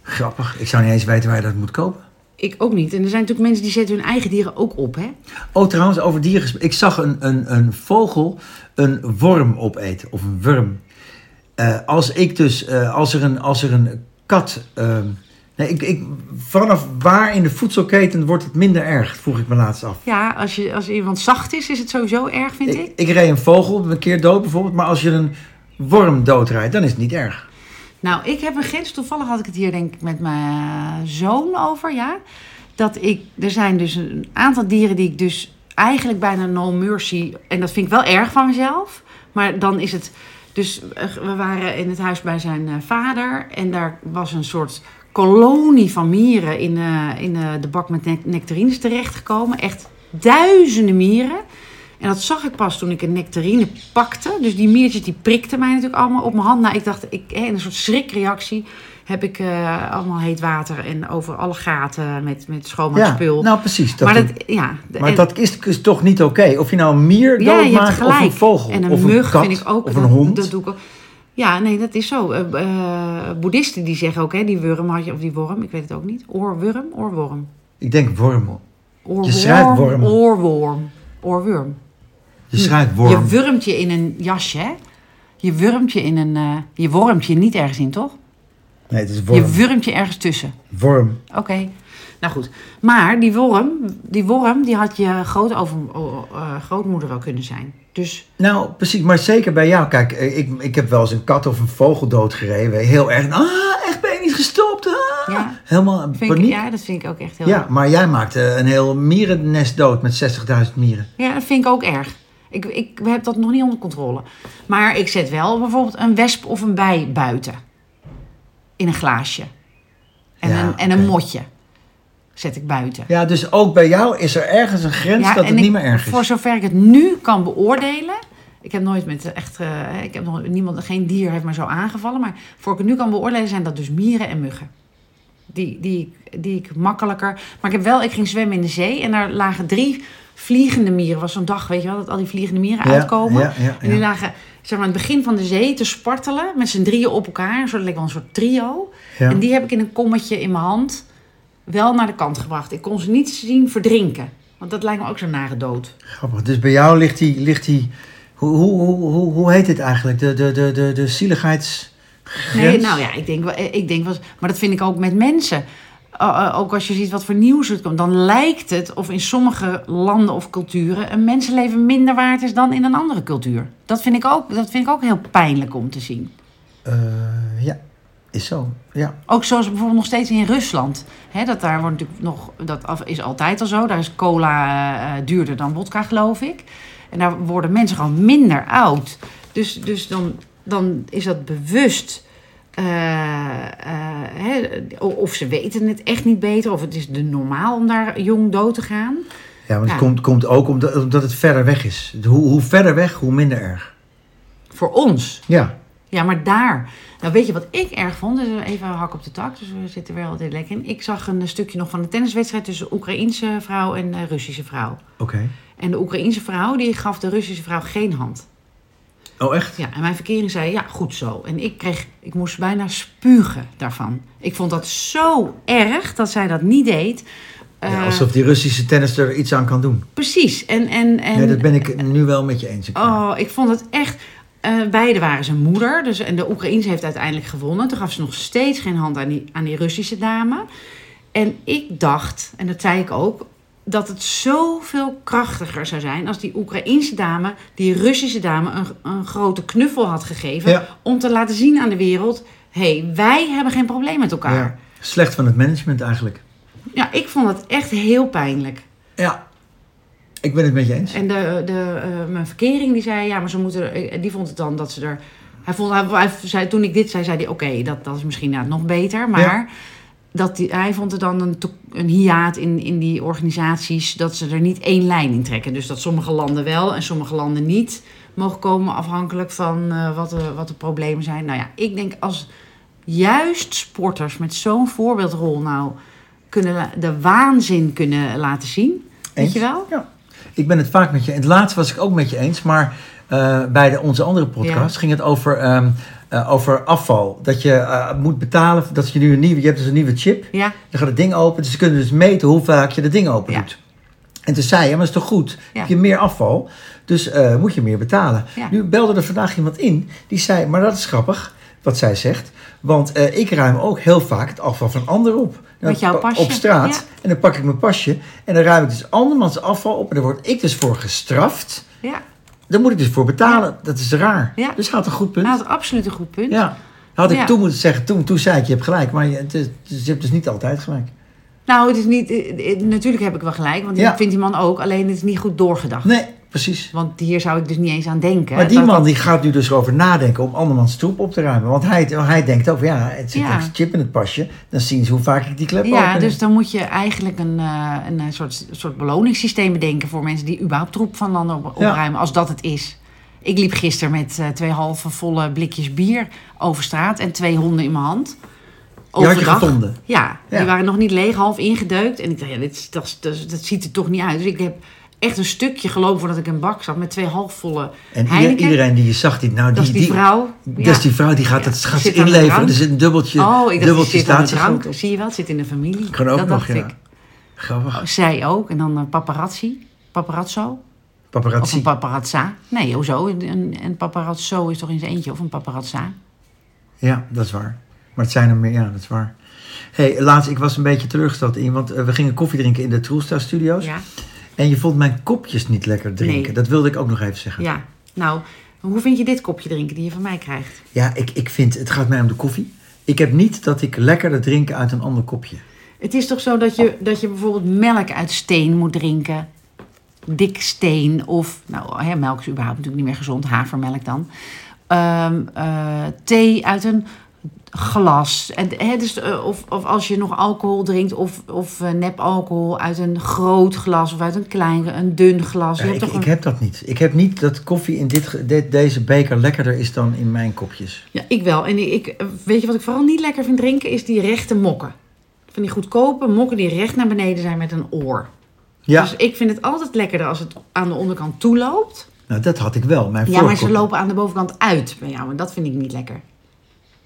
Speaker 1: Grappig. Ik zou niet eens weten waar je dat moet kopen.
Speaker 2: ik ook niet. En er zijn natuurlijk mensen die zetten hun eigen dieren ook op, hè?
Speaker 1: Oh, trouwens, over dieren gesproken. Ik zag een, een, een vogel een worm opeten, of een worm. Eh, als ik dus, eh, als, er een, als er een kat... ehm, nee, ik, ik, vanaf waar in de voedselketen wordt het minder erg, vroeg ik me laatst af.
Speaker 2: Ja, als, je, als iemand zacht is, is het sowieso erg, vind ik.
Speaker 1: Ik, ik reed een vogel een keer dood bijvoorbeeld, maar als je een worm doodrijdt, dan is het niet erg.
Speaker 2: Nou, ik heb een grens. Toevallig had ik het hier denk ik met mijn zoon over, ja. Dat ik, er zijn dus een aantal dieren die ik dus eigenlijk bijna no mercy... En dat vind ik wel erg van mezelf. Maar dan is het... Dus eh, we waren in het huis bij zijn eh, vader. En daar was een soort kolonie van mieren in, eh, in eh, de bak met nec- nectarines terechtgekomen. Echt duizenden mieren. En dat zag ik pas toen ik een nectarine pakte. Dus die miertjes die prikten mij natuurlijk allemaal op mijn hand. Nou, ik dacht, ik, hè, in een soort schrikreactie heb ik eh, allemaal heet water en over alle gaten met, met schoonmaak spul.
Speaker 1: nou precies. Dat
Speaker 2: maar
Speaker 1: doet-
Speaker 2: dat, ja, de-
Speaker 1: Maar
Speaker 2: en-
Speaker 1: dat is, is toch niet oké? Of je nou een mier
Speaker 2: ja, je hebt
Speaker 1: doodmaakt of
Speaker 2: gelijk.
Speaker 1: een vogel.
Speaker 2: En een
Speaker 1: of
Speaker 2: mug
Speaker 1: een kat,
Speaker 2: vind ik ook.
Speaker 1: Of een
Speaker 2: dat,
Speaker 1: hond.
Speaker 2: Dat doe ik ook. Ja, nee, dat is zo. Eh eh, boeddhisten die zeggen ook, hè, die worm had je, of die worm, ik weet het ook niet. Oorworm, oorworm.
Speaker 1: Ik denk worm.
Speaker 2: Oorworm,
Speaker 1: schrijft worm.
Speaker 2: Oorworm, oorworm.
Speaker 1: Je schrijft worm.
Speaker 2: Je wurmt je in een jasje, hè? Je wurmt je in een... eh, je wormt je niet ergens in, toch?
Speaker 1: Nee, het is worm.
Speaker 2: Je wurmt je ergens tussen.
Speaker 1: worm.
Speaker 2: Oké. Nou goed. Maar die worm, die worm, die had je grootover, o- eh, grootmoeder wel kunnen zijn. Dus
Speaker 1: Nou, precies. Maar zeker bij jou. Kijk, eh, ik, ik heb wel eens een kat of een vogel doodgereden. Heel erg. Ah, echt ben je niet gestopt. Ah.
Speaker 2: Ja.
Speaker 1: Helemaal in
Speaker 2: vind ik,
Speaker 1: paniek.
Speaker 2: ja, dat vind ik ook echt heel
Speaker 1: Ja, maar jij maakte een heel mierennest dood met 60.000 mieren.
Speaker 2: Ja, dat vind ik ook erg. Ik, ik heb dat nog niet onder controle. Maar ik zet wel bijvoorbeeld een wesp of een bij buiten. In een glaasje. En,
Speaker 1: Ja,
Speaker 2: een, en een
Speaker 1: oké.
Speaker 2: motje zet ik buiten.
Speaker 1: Ja, dus ook bij jou is er ergens een grens dat
Speaker 2: en
Speaker 1: het
Speaker 2: ik-
Speaker 1: niet meer erg is.
Speaker 2: Voor zover ik het nu kan beoordelen. Ik heb nooit met eh, echt. eh, ik heb nog niemand, geen dier heeft me zo aangevallen. Maar voor ik het nu kan beoordelen zijn dat dus mieren en muggen. Die, die, die ik makkelijker. Maar ik heb wel, ik ging zwemmen in de zee en daar lagen drie vliegende mieren. Was zo'n dag, weet je wel, dat al die vliegende mieren
Speaker 1: Ja,
Speaker 2: uitkomen.
Speaker 1: ja, ja,
Speaker 2: En die
Speaker 1: ja.
Speaker 2: lagen zeg maar, aan het begin van de zee te spartelen met z'n drieën op elkaar. Een soort, leek wel een soort trio.
Speaker 1: Ja.
Speaker 2: En die heb ik in een kommetje in mijn hand wel naar de kant gebracht. Ik kon ze niet zien verdrinken. Want dat lijkt me ook zo'n nare dood.
Speaker 1: Grappig. Dus bij jou ligt die... Ligt die hoe, hoe, hoe, hoe, hoe heet dit eigenlijk? De, de, de, de, de zieligheids...
Speaker 2: Nee, nou ja, ik denk, wel- ik denk wel. Maar dat vind ik ook met mensen. Eh, eh, ook als je ziet wat voor nieuws het komt, dan lijkt het of in sommige landen of culturen een mensenleven minder waard is dan in een andere cultuur. Dat vind ik ook, dat vind ik ook heel pijnlijk om te zien.
Speaker 1: Eh, ja, is zo. Ja.
Speaker 2: Ook zoals bijvoorbeeld nog steeds in Rusland. Hè, dat daar wordt natuurlijk nog, dat af- is altijd al zo. Daar is cola eh, duurder dan vodka, geloof ik. En daar worden mensen gewoon minder oud. Dus, dus dan, dan is dat bewust. eh, eh, hè, o- of ze weten het echt niet beter, of het is de normaal om daar jong dood te gaan.
Speaker 1: Ja, maar het
Speaker 2: Ja.
Speaker 1: komt, komt ook omdat, omdat het verder weg is. Hoe, hoe verder weg, hoe minder erg.
Speaker 2: Voor ons.
Speaker 1: Ja.
Speaker 2: Ja, maar daar. Nou, weet je wat ik erg vond? Dus even een hak op de tak, dus we zitten weer altijd lekker in. Ik zag een stukje nog van de tenniswedstrijd tussen een Oekraïense vrouw en een Russische vrouw.
Speaker 1: Oké.
Speaker 2: En de Oekraïense vrouw die gaf de Russische vrouw geen hand.
Speaker 1: Oh, echt?
Speaker 2: Ja, en mijn verkering zei ja, goed zo. En ik kreeg, ik moest bijna spugen daarvan. Ik vond dat zo erg dat zij dat niet deed. Eh,
Speaker 1: Ja, alsof die Russische tennis er iets aan kan doen.
Speaker 2: Precies. En, en, en,
Speaker 1: Ja, dat ben ik nu wel met je eens. Ik-
Speaker 2: Oh, ik vond het echt. eh beide waren zijn moeder. Dus, en de Oekraïense heeft uiteindelijk gewonnen. Toen gaf ze nog steeds geen hand aan die, aan die Russische dame. En ik dacht, en dat zei ik ook, dat het zoveel krachtiger zou zijn als die Oekraïense dame, die Russische dame, een, een grote knuffel had gegeven.
Speaker 1: Ja.
Speaker 2: Om te laten zien aan de wereld: hé, hey, wij hebben geen probleem met elkaar.
Speaker 1: Ja. Slecht van het management eigenlijk.
Speaker 2: ja, ik vond dat echt heel pijnlijk.
Speaker 1: Ja. Ik ben het met je eens.
Speaker 2: En de, de, eh, mijn verkering die zei, ja, maar ze moeten, er- eh, die vond het dan dat ze er. Hij vond, hij, hij zei, toen ik dit zei, zei hij, oké, dat, dat is misschien inderdaad nog beter. Maar
Speaker 1: Ja.
Speaker 2: dat die, hij vond er dan een, to- een hiaat in, in die organisaties dat ze er niet één lijn in trekken. Dus dat sommige landen wel en sommige landen niet mogen komen afhankelijk van eh, wat, de, wat de problemen zijn. Nou ja, ik denk als juist sporters met zo'n voorbeeldrol nou kunnen de waanzin kunnen laten zien. Weet
Speaker 1: Eens?
Speaker 2: je wel?
Speaker 1: Ja. Ik ben het vaak met je. Het laatst was ik ook met je eens, maar eh, bij de, onze andere podcast
Speaker 2: Ja.
Speaker 1: ging het over, ehm, eh, over afval. Dat je eh, moet betalen, dat je nu een nieuwe, je hebt dus een nieuwe chip.
Speaker 2: Ja.
Speaker 1: Dan gaat het ding open, dus ze kunnen dus meten hoe vaak je dat ding open
Speaker 2: Ja.
Speaker 1: doet. En toen zei je, maar dat is toch goed?
Speaker 2: Ja.
Speaker 1: Heb je meer afval, dus eh, moet je meer betalen.
Speaker 2: Ja.
Speaker 1: Nu belde er vandaag iemand in, die zei, maar dat is grappig wat zij zegt. Want eh, ik ruim ook heel vaak het afval van anderen op.
Speaker 2: Met jouw
Speaker 1: op- Op
Speaker 2: pasje,
Speaker 1: straat.
Speaker 2: ja.
Speaker 1: En dan pak ik mijn pasje en dan ruim ik dus andermans afval op. En daar word ik dus voor gestraft.
Speaker 2: Ja,
Speaker 1: Daar moet ik dus voor betalen. Dat is raar.
Speaker 2: Ja.
Speaker 1: Dus had een goed punt.
Speaker 2: nou, dat is absoluut een goed punt.
Speaker 1: Ja. Had ik
Speaker 2: Ja.
Speaker 1: toen moeten zeggen, toen, toen zei ik je hebt gelijk. Maar je, het is- je hebt dus niet altijd gelijk.
Speaker 2: Nou, het is niet, eh, eh, natuurlijk heb ik wel gelijk, want
Speaker 1: Ja.
Speaker 2: ik vind die man ook, alleen het is niet goed doorgedacht.
Speaker 1: Nee, precies.
Speaker 2: Want hier zou ik dus niet eens aan denken.
Speaker 1: Maar die
Speaker 2: Dat-
Speaker 1: man die gaat nu dus over nadenken om andermans troep op te ruimen. Want hij, hij denkt ook, ja, het zit
Speaker 2: Ja.
Speaker 1: een chip in het pasje. Dan zien ze hoe vaak ik die klep
Speaker 2: Ja,
Speaker 1: open.
Speaker 2: dus dan moet je eigenlijk een, eh, een eh, soort, soort beloningssysteem bedenken voor mensen die überhaupt troep van landen op,
Speaker 1: Ja.
Speaker 2: opruimen, als dat het is. Ik liep gisteren met eh, twee halve volle blikjes bier over straat en twee honden in mijn hand.
Speaker 1: Die had je gevonden?
Speaker 2: Ja,
Speaker 1: Ja.
Speaker 2: die waren nog niet leeg, half ingedeukt. En ik dacht, ja, dit, is- dat, is- dat, is- dat ziet er toch niet uit. Dus ik heb echt een stukje gelopen voordat ik in een bak zat met twee halfvolle
Speaker 1: En ieder-
Speaker 2: Heineken.
Speaker 1: iedereen die je zag, die, nou,
Speaker 2: dat is die, vrouw.
Speaker 1: Dat
Speaker 2: Ja.
Speaker 1: is die vrouw die gaat
Speaker 2: Ja,
Speaker 1: dat gaat
Speaker 2: zit
Speaker 1: ze
Speaker 2: aan de
Speaker 1: inleveren. Dus
Speaker 2: drank.
Speaker 1: Er zit een dubbeltje,
Speaker 2: Oh, ik dacht, die
Speaker 1: dubbeltje
Speaker 2: zit aan de
Speaker 1: statiegeld
Speaker 2: drank. Zie je wel, het zit in de familie.
Speaker 1: Kan ook
Speaker 2: dat
Speaker 1: nog,
Speaker 2: dacht
Speaker 1: ja.
Speaker 2: ik. Oh,
Speaker 1: Grappig.
Speaker 2: Zij ook. En dan een paparazzi. Paparazzo. Of een
Speaker 1: Paparazzi.
Speaker 2: paparazza. Nee, hoezo? Een, een paparazzo is toch in zijn eentje? Of een paparazza?
Speaker 1: Ja, dat is waar. Maar het zijn er meer, ja, dat is waar. hey, laatst, ik was een beetje teleurgesteld in, want eh, we gingen koffie drinken in de Troelstra Studios.
Speaker 2: Ja.
Speaker 1: En je vond mijn kopjes niet lekker drinken.
Speaker 2: Nee.
Speaker 1: Dat wilde ik ook nog even zeggen. Ja,
Speaker 2: ja. Nou, hoe vind je dit kopje drinken die je van mij krijgt?
Speaker 1: ik, ik vind, het gaat mij om de koffie. Ik heb niet dat ik lekkerder drink uit een ander kopje.
Speaker 2: Het is toch zo dat je, dat je bijvoorbeeld melk uit steen moet drinken? Dik steen of... Nou, hè, melk is überhaupt natuurlijk niet meer gezond. Havermelk dan. Ehm, eh, thee uit een glas. En, hè, dus, eh, of, of als je nog alcohol drinkt of, of eh, nep alcohol uit een groot glas of uit een klein, een dun glas.
Speaker 1: Ja,
Speaker 2: Je hebt
Speaker 1: Eh, ik,
Speaker 2: toch
Speaker 1: ik
Speaker 2: een-
Speaker 1: heb dat niet. Ik heb niet dat koffie in dit, ge- dit- deze beker lekkerder is dan in mijn kopjes.
Speaker 2: Ja, ik wel. En ik, ik- weet je wat ik vooral niet lekker vind drinken? Is die rechte mokken. Van die goedkope mokken die recht naar beneden zijn met een oor.
Speaker 1: Ja,
Speaker 2: Dus ik vind het altijd lekkerder als het aan de onderkant toeloopt.
Speaker 1: nou dat had ik wel. Mijn
Speaker 2: Ja, maar ze
Speaker 1: voorkop.
Speaker 2: lopen aan de bovenkant uit bij jou. En dat vind ik niet lekker.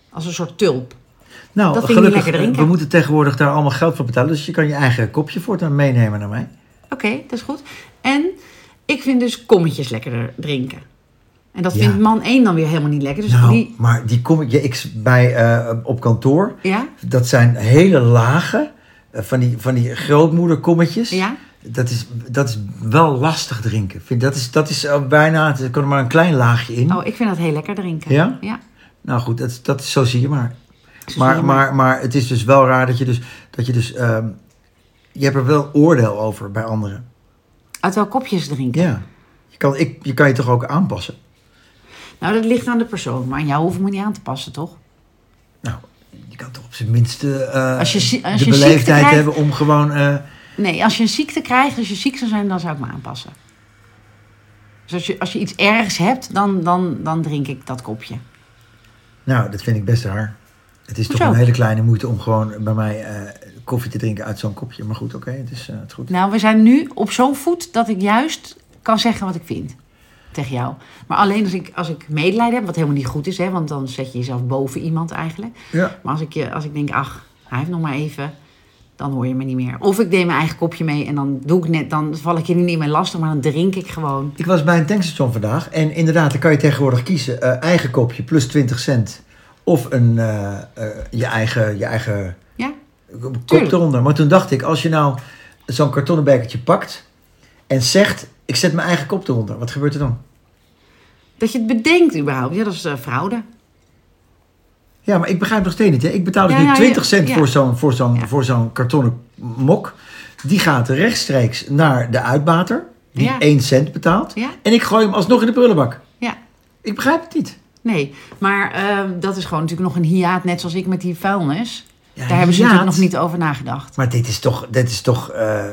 Speaker 2: Als een soort tulp.
Speaker 1: Nou,
Speaker 2: Dat vind ik niet
Speaker 1: gelukkig,
Speaker 2: lekker drinken.
Speaker 1: we moeten tegenwoordig daar allemaal geld voor betalen. Dus je kan je eigen kopje voortaan meenemen naar mij.
Speaker 2: Oké, dat is goed. En ik vind dus kommetjes lekkerder drinken. En dat
Speaker 1: Ja.
Speaker 2: vindt man 1 dan weer helemaal niet lekker. Dus
Speaker 1: nou,
Speaker 2: die...
Speaker 1: maar die kom ik, ja, ik bij, eh, op kantoor.
Speaker 2: Ja?
Speaker 1: Dat zijn hele lage, eh, van die, van die grootmoederkommetjes.
Speaker 2: Ja?
Speaker 1: Dat is, dat is wel lastig drinken. Vind, dat is, dat is eh, bijna, er kan er maar een klein laagje in.
Speaker 2: Oh, ik vind dat heel lekker drinken.
Speaker 1: Hm? Ja?
Speaker 2: Ja.
Speaker 1: Nou goed, dat, dat, is- zo zie je maar.
Speaker 2: zie je
Speaker 1: Maar,
Speaker 2: maar.
Speaker 1: maar, maar het is dus wel raar dat je dus, dat je dus, ehm, je hebt er wel oordeel over bij anderen.
Speaker 2: Uit wel kopjes drinken.
Speaker 1: Ja, je kan, ik, je kan je toch ook aanpassen?
Speaker 2: Nou, dat ligt aan de persoon. Maar aan jou hoef ik me niet aan te passen, toch?
Speaker 1: Nou, je kan toch op zijn minste eh,
Speaker 2: Als je zie- als
Speaker 1: de
Speaker 2: je
Speaker 1: beleefdheid
Speaker 2: ziekte krijgt-
Speaker 1: hebben om gewoon... eh,
Speaker 2: Nee, als je een ziekte krijgt, als je ziek zou zijn, dan zou ik me aanpassen. Dus als je, als je iets ergs hebt, dan, dan, dan drink ik dat kopje.
Speaker 1: nou, dat vind ik best raar. Het is toch
Speaker 2: Hoezo?
Speaker 1: een hele kleine moeite om gewoon bij mij eh, koffie te drinken uit zo'n kopje. Maar goed, oké, het is eh, het goed.
Speaker 2: Nou, we zijn nu op zo'n voet dat ik juist kan zeggen wat ik vind tegen jou. Maar alleen als ik, als ik medelijden heb, wat helemaal niet goed is, hè, want dan zet je jezelf boven iemand eigenlijk.
Speaker 1: Ja.
Speaker 2: Maar als ik, je, als ik denk, ach, hij heeft nog maar even, dan hoor je me niet meer. Of ik neem mijn eigen kopje mee en dan doe ik net, dan val ik je niet meer lastig, maar dan drink ik gewoon.
Speaker 1: Ik was bij een tankstation vandaag en inderdaad, dan kan je tegenwoordig kiezen. eh, eigen kopje plus 20 cent of een, eh, eh, je eigen, je eigen
Speaker 2: Ja?
Speaker 1: kop
Speaker 2: Tuurlijk.
Speaker 1: eronder. Maar toen dacht ik, als je nou zo'n kartonnen bekertje pakt en zegt... Ik zet mijn eigen kop eronder. Wat gebeurt er dan?
Speaker 2: Dat je het bedenkt überhaupt. Ja, dat is eh, fraude.
Speaker 1: Ja, maar ik begrijp nog steeds niet. Hè? Ik betaal dus
Speaker 2: Ja,
Speaker 1: nu
Speaker 2: ja, ja.
Speaker 1: 20 cent
Speaker 2: Ja.
Speaker 1: voor zo'n voor zo'n
Speaker 2: Ja.
Speaker 1: voor zo'n kartonnen mok. Die gaat rechtstreeks naar de uitbater, die
Speaker 2: Ja.
Speaker 1: 1 cent betaalt.
Speaker 2: Ja.
Speaker 1: En ik gooi hem alsnog in de prullenbak.
Speaker 2: Ja.
Speaker 1: Ik begrijp het niet.
Speaker 2: Nee, maar eh, dat is gewoon natuurlijk nog een hiaat, net zoals ik met die vuilnis.
Speaker 1: Ja,
Speaker 2: Daar hebben ze
Speaker 1: hiaat.
Speaker 2: natuurlijk nog niet over nagedacht.
Speaker 1: Maar dit is toch, dit is toch, eh,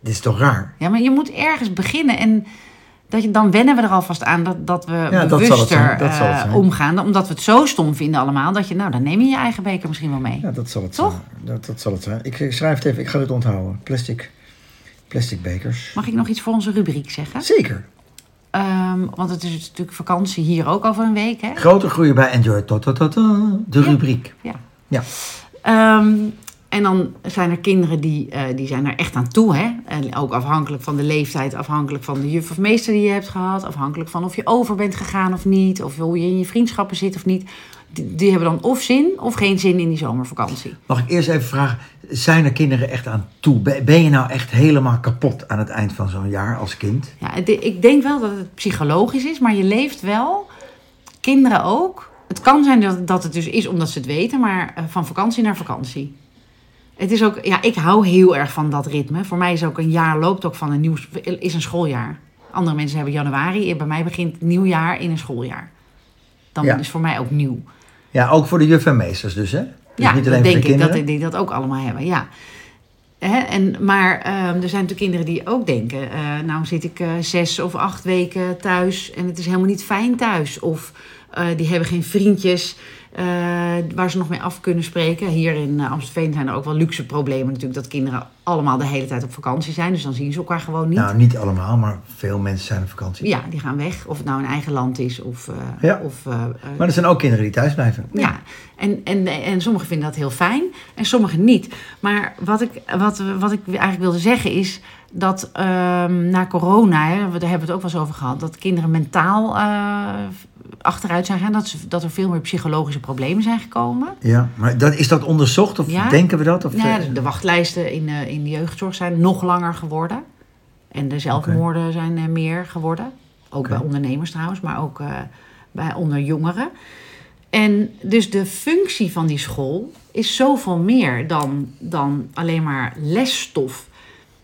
Speaker 1: dit is toch raar?
Speaker 2: Ja, maar je moet ergens beginnen en Dat je, dan wennen we er alvast aan dat, dat we
Speaker 1: dat zal het
Speaker 2: bewuster
Speaker 1: zijn, dat zal het
Speaker 2: eh,
Speaker 1: zijn.
Speaker 2: omgaan. Omdat we het zo stom vinden allemaal. Dat je, nou, dan neem je je eigen beker misschien wel mee.
Speaker 1: Ja, dat zal het
Speaker 2: Toch?
Speaker 1: zijn. Dat, dat zal het zijn. Ik eh, schrijf het even, ik ga het onthouden. Plastic, plastic bekers.
Speaker 2: Mag ik nog iets voor onze rubriek zeggen?
Speaker 1: Zeker.
Speaker 2: Ehm, want het is natuurlijk vakantie hier ook over een week, hè?
Speaker 1: Grote groeien bij Enjoy tot tot tot de
Speaker 2: Ja.
Speaker 1: rubriek.
Speaker 2: Ja.
Speaker 1: Ja.
Speaker 2: Ehm, en dan zijn er kinderen die, eh, die zijn er echt aan toe. Hè? En ook afhankelijk van de leeftijd, afhankelijk van de juf of meester die je hebt gehad. Afhankelijk van of je over bent gegaan of niet. Of hoe je in je vriendschappen zit of niet. Die, die hebben dan of zin of geen zin in die zomervakantie.
Speaker 1: Mag ik eerst even vragen, zijn er kinderen echt aan toe? Ben ben je nou echt helemaal kapot aan het eind van zo'n jaar als kind?
Speaker 2: Ja, het- ik denk wel dat het psychologisch is, maar je leeft wel. Kinderen ook. Het kan zijn dat, dat het dus is omdat ze het weten, maar eh, van vakantie naar vakantie. Het is ook, ja, ik hou heel erg van dat ritme. Voor mij is ook een jaar loopt ook van een nieuw, is een schooljaar. Andere mensen hebben januari, eh, bij mij begint het nieuwjaar in een schooljaar. Dan
Speaker 1: Ja.
Speaker 2: is voor mij ook nieuw.
Speaker 1: Ja, ook voor de juf en meesters dus, hè? Dus
Speaker 2: Ja,
Speaker 1: niet alleen
Speaker 2: dat
Speaker 1: voor de
Speaker 2: denk ik dat
Speaker 1: kinderen.
Speaker 2: die dat ook allemaal hebben, ja. Hè? En, maar ehm, er zijn natuurlijk kinderen die ook denken... eh, nou zit ik eh, zes of acht weken thuis en het is helemaal niet fijn thuis. Of eh, die hebben geen vriendjes eh, waar ze nog mee af kunnen spreken. Hier in eh, Amstelveen zijn er ook wel luxe problemen natuurlijk... dat kinderen allemaal de hele tijd op vakantie zijn. Dus dan zien ze elkaar gewoon niet.
Speaker 1: Nou, niet allemaal, maar veel mensen zijn op vakantie.
Speaker 2: ja, die gaan weg. Of het nou een eigen land is of... eh,
Speaker 1: Ja.
Speaker 2: of eh, eh,
Speaker 1: Maar er zijn ook kinderen die thuis blijven.
Speaker 2: ja, en, en, en sommigen vinden dat heel fijn en sommigen niet. Maar wat ik, wat, wat ik eigenlijk wilde zeggen is dat ehm, na corona, hè, we- daar hebben we het ook wel eens over gehad, dat kinderen mentaal eh, achteruit zijn gegaan. Dat, ze, dat er veel meer psychologische problemen zijn gekomen.
Speaker 1: Ja, maar dat, is dat onderzocht of
Speaker 2: Ja.
Speaker 1: denken we dat? Of,
Speaker 2: Nou ja,
Speaker 1: eh,
Speaker 2: de- de wachtlijsten in, eh, in de jeugdzorg zijn nog langer geworden. En de zelfmoorden zijn eh, meer geworden. Ook bij ondernemers trouwens, maar ook eh, bij onder jongeren. En dus de functie van die school is zoveel meer dan, dan alleen maar lesstof.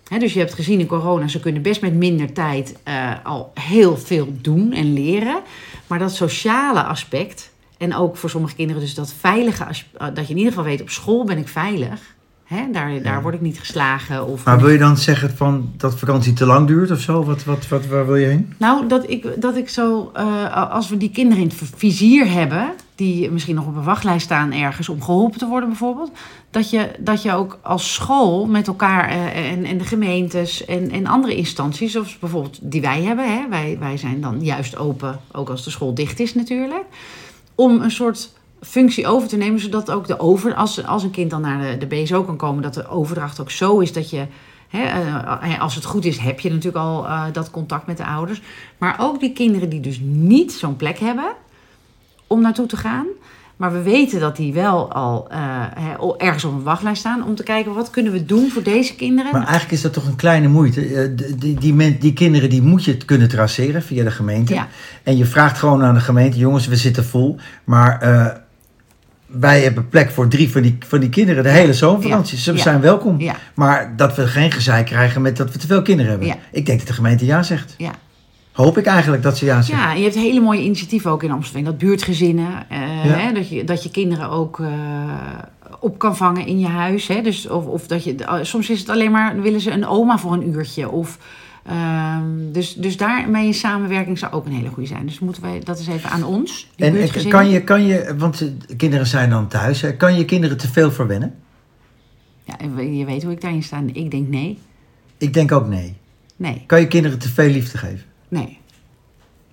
Speaker 2: Hè, dus je hebt gezien in corona, ze kunnen best met minder tijd eh, al heel veel doen en leren. Maar dat sociale aspect, en ook voor sommige kinderen dus dat veilige, as- eh, dat je in ieder geval weet, op school ben ik veilig. Hè, daar, daar word ik niet geslagen. Of
Speaker 1: Maar wil je dan zeggen van dat vakantie te lang duurt of zo? Wat, wat, wat, waar wil je heen?
Speaker 2: Nou, dat ik, dat ik zo, eh, als we die kinderen in het vizier hebben, die misschien nog op een wachtlijst staan ergens om geholpen te worden bijvoorbeeld, dat je, dat je ook als school met elkaar eh, en, en de gemeentes en, en andere instanties, zoals bijvoorbeeld die wij hebben, hè, wij, wij zijn dan juist open, ook als de school dicht is natuurlijk, om een soort functie over te nemen, zodat ook de over, als, als een kind dan naar de, de BSO kan komen, dat de overdracht ook zo is dat je, hè, eh, als het goed is, heb je natuurlijk al eh, dat contact met de ouders. Maar ook die kinderen die dus niet zo'n plek hebben om naartoe te gaan. Maar we weten dat die wel al eh, hè, o- ergens op een wachtlijst staan om te kijken wat kunnen we doen voor deze kinderen.
Speaker 1: Maar eigenlijk is dat toch een kleine moeite. Eh, d- Die, die, men- die kinderen die moet je het kunnen traceren via de gemeente.
Speaker 2: Ja.
Speaker 1: En je vraagt gewoon aan de gemeente, jongens, we zitten vol. Maar eh, wij hebben plek voor drie van die, van die kinderen de hele zomervakantie.
Speaker 2: Ja.
Speaker 1: Ze
Speaker 2: Ja.
Speaker 1: zijn welkom.
Speaker 2: Ja.
Speaker 1: Maar dat we geen gezeik krijgen met dat we te veel kinderen hebben.
Speaker 2: Ja.
Speaker 1: Ik denk dat de gemeente ja zegt.
Speaker 2: ja.
Speaker 1: Hoop ik eigenlijk dat ze ja zegt.
Speaker 2: Ja, en je hebt hele mooie initiatieven ook in Amsterdam. Dat buurtgezinnen, eh,
Speaker 1: Ja.
Speaker 2: hè, dat, je, dat je kinderen ook eh, op kan vangen in je huis. Hè, dus, of, of dat je, eh, soms is het alleen maar, willen ze een oma voor een uurtje. Of, ehm, dus, dus daarmee in samenwerking zou ook een hele goede zijn. Dus moeten wij, dat is even aan ons, die
Speaker 1: En eh,
Speaker 2: buurtgezinnen.
Speaker 1: kan je, kan je, want eh, kinderen zijn dan thuis, hè, kan je kinderen te veel verwennen?
Speaker 2: Ja, en je weet hoe ik daarin sta. Ik denk nee,
Speaker 1: Ik denk ook nee.
Speaker 2: nee,
Speaker 1: Kan je kinderen te veel liefde geven?
Speaker 2: nee.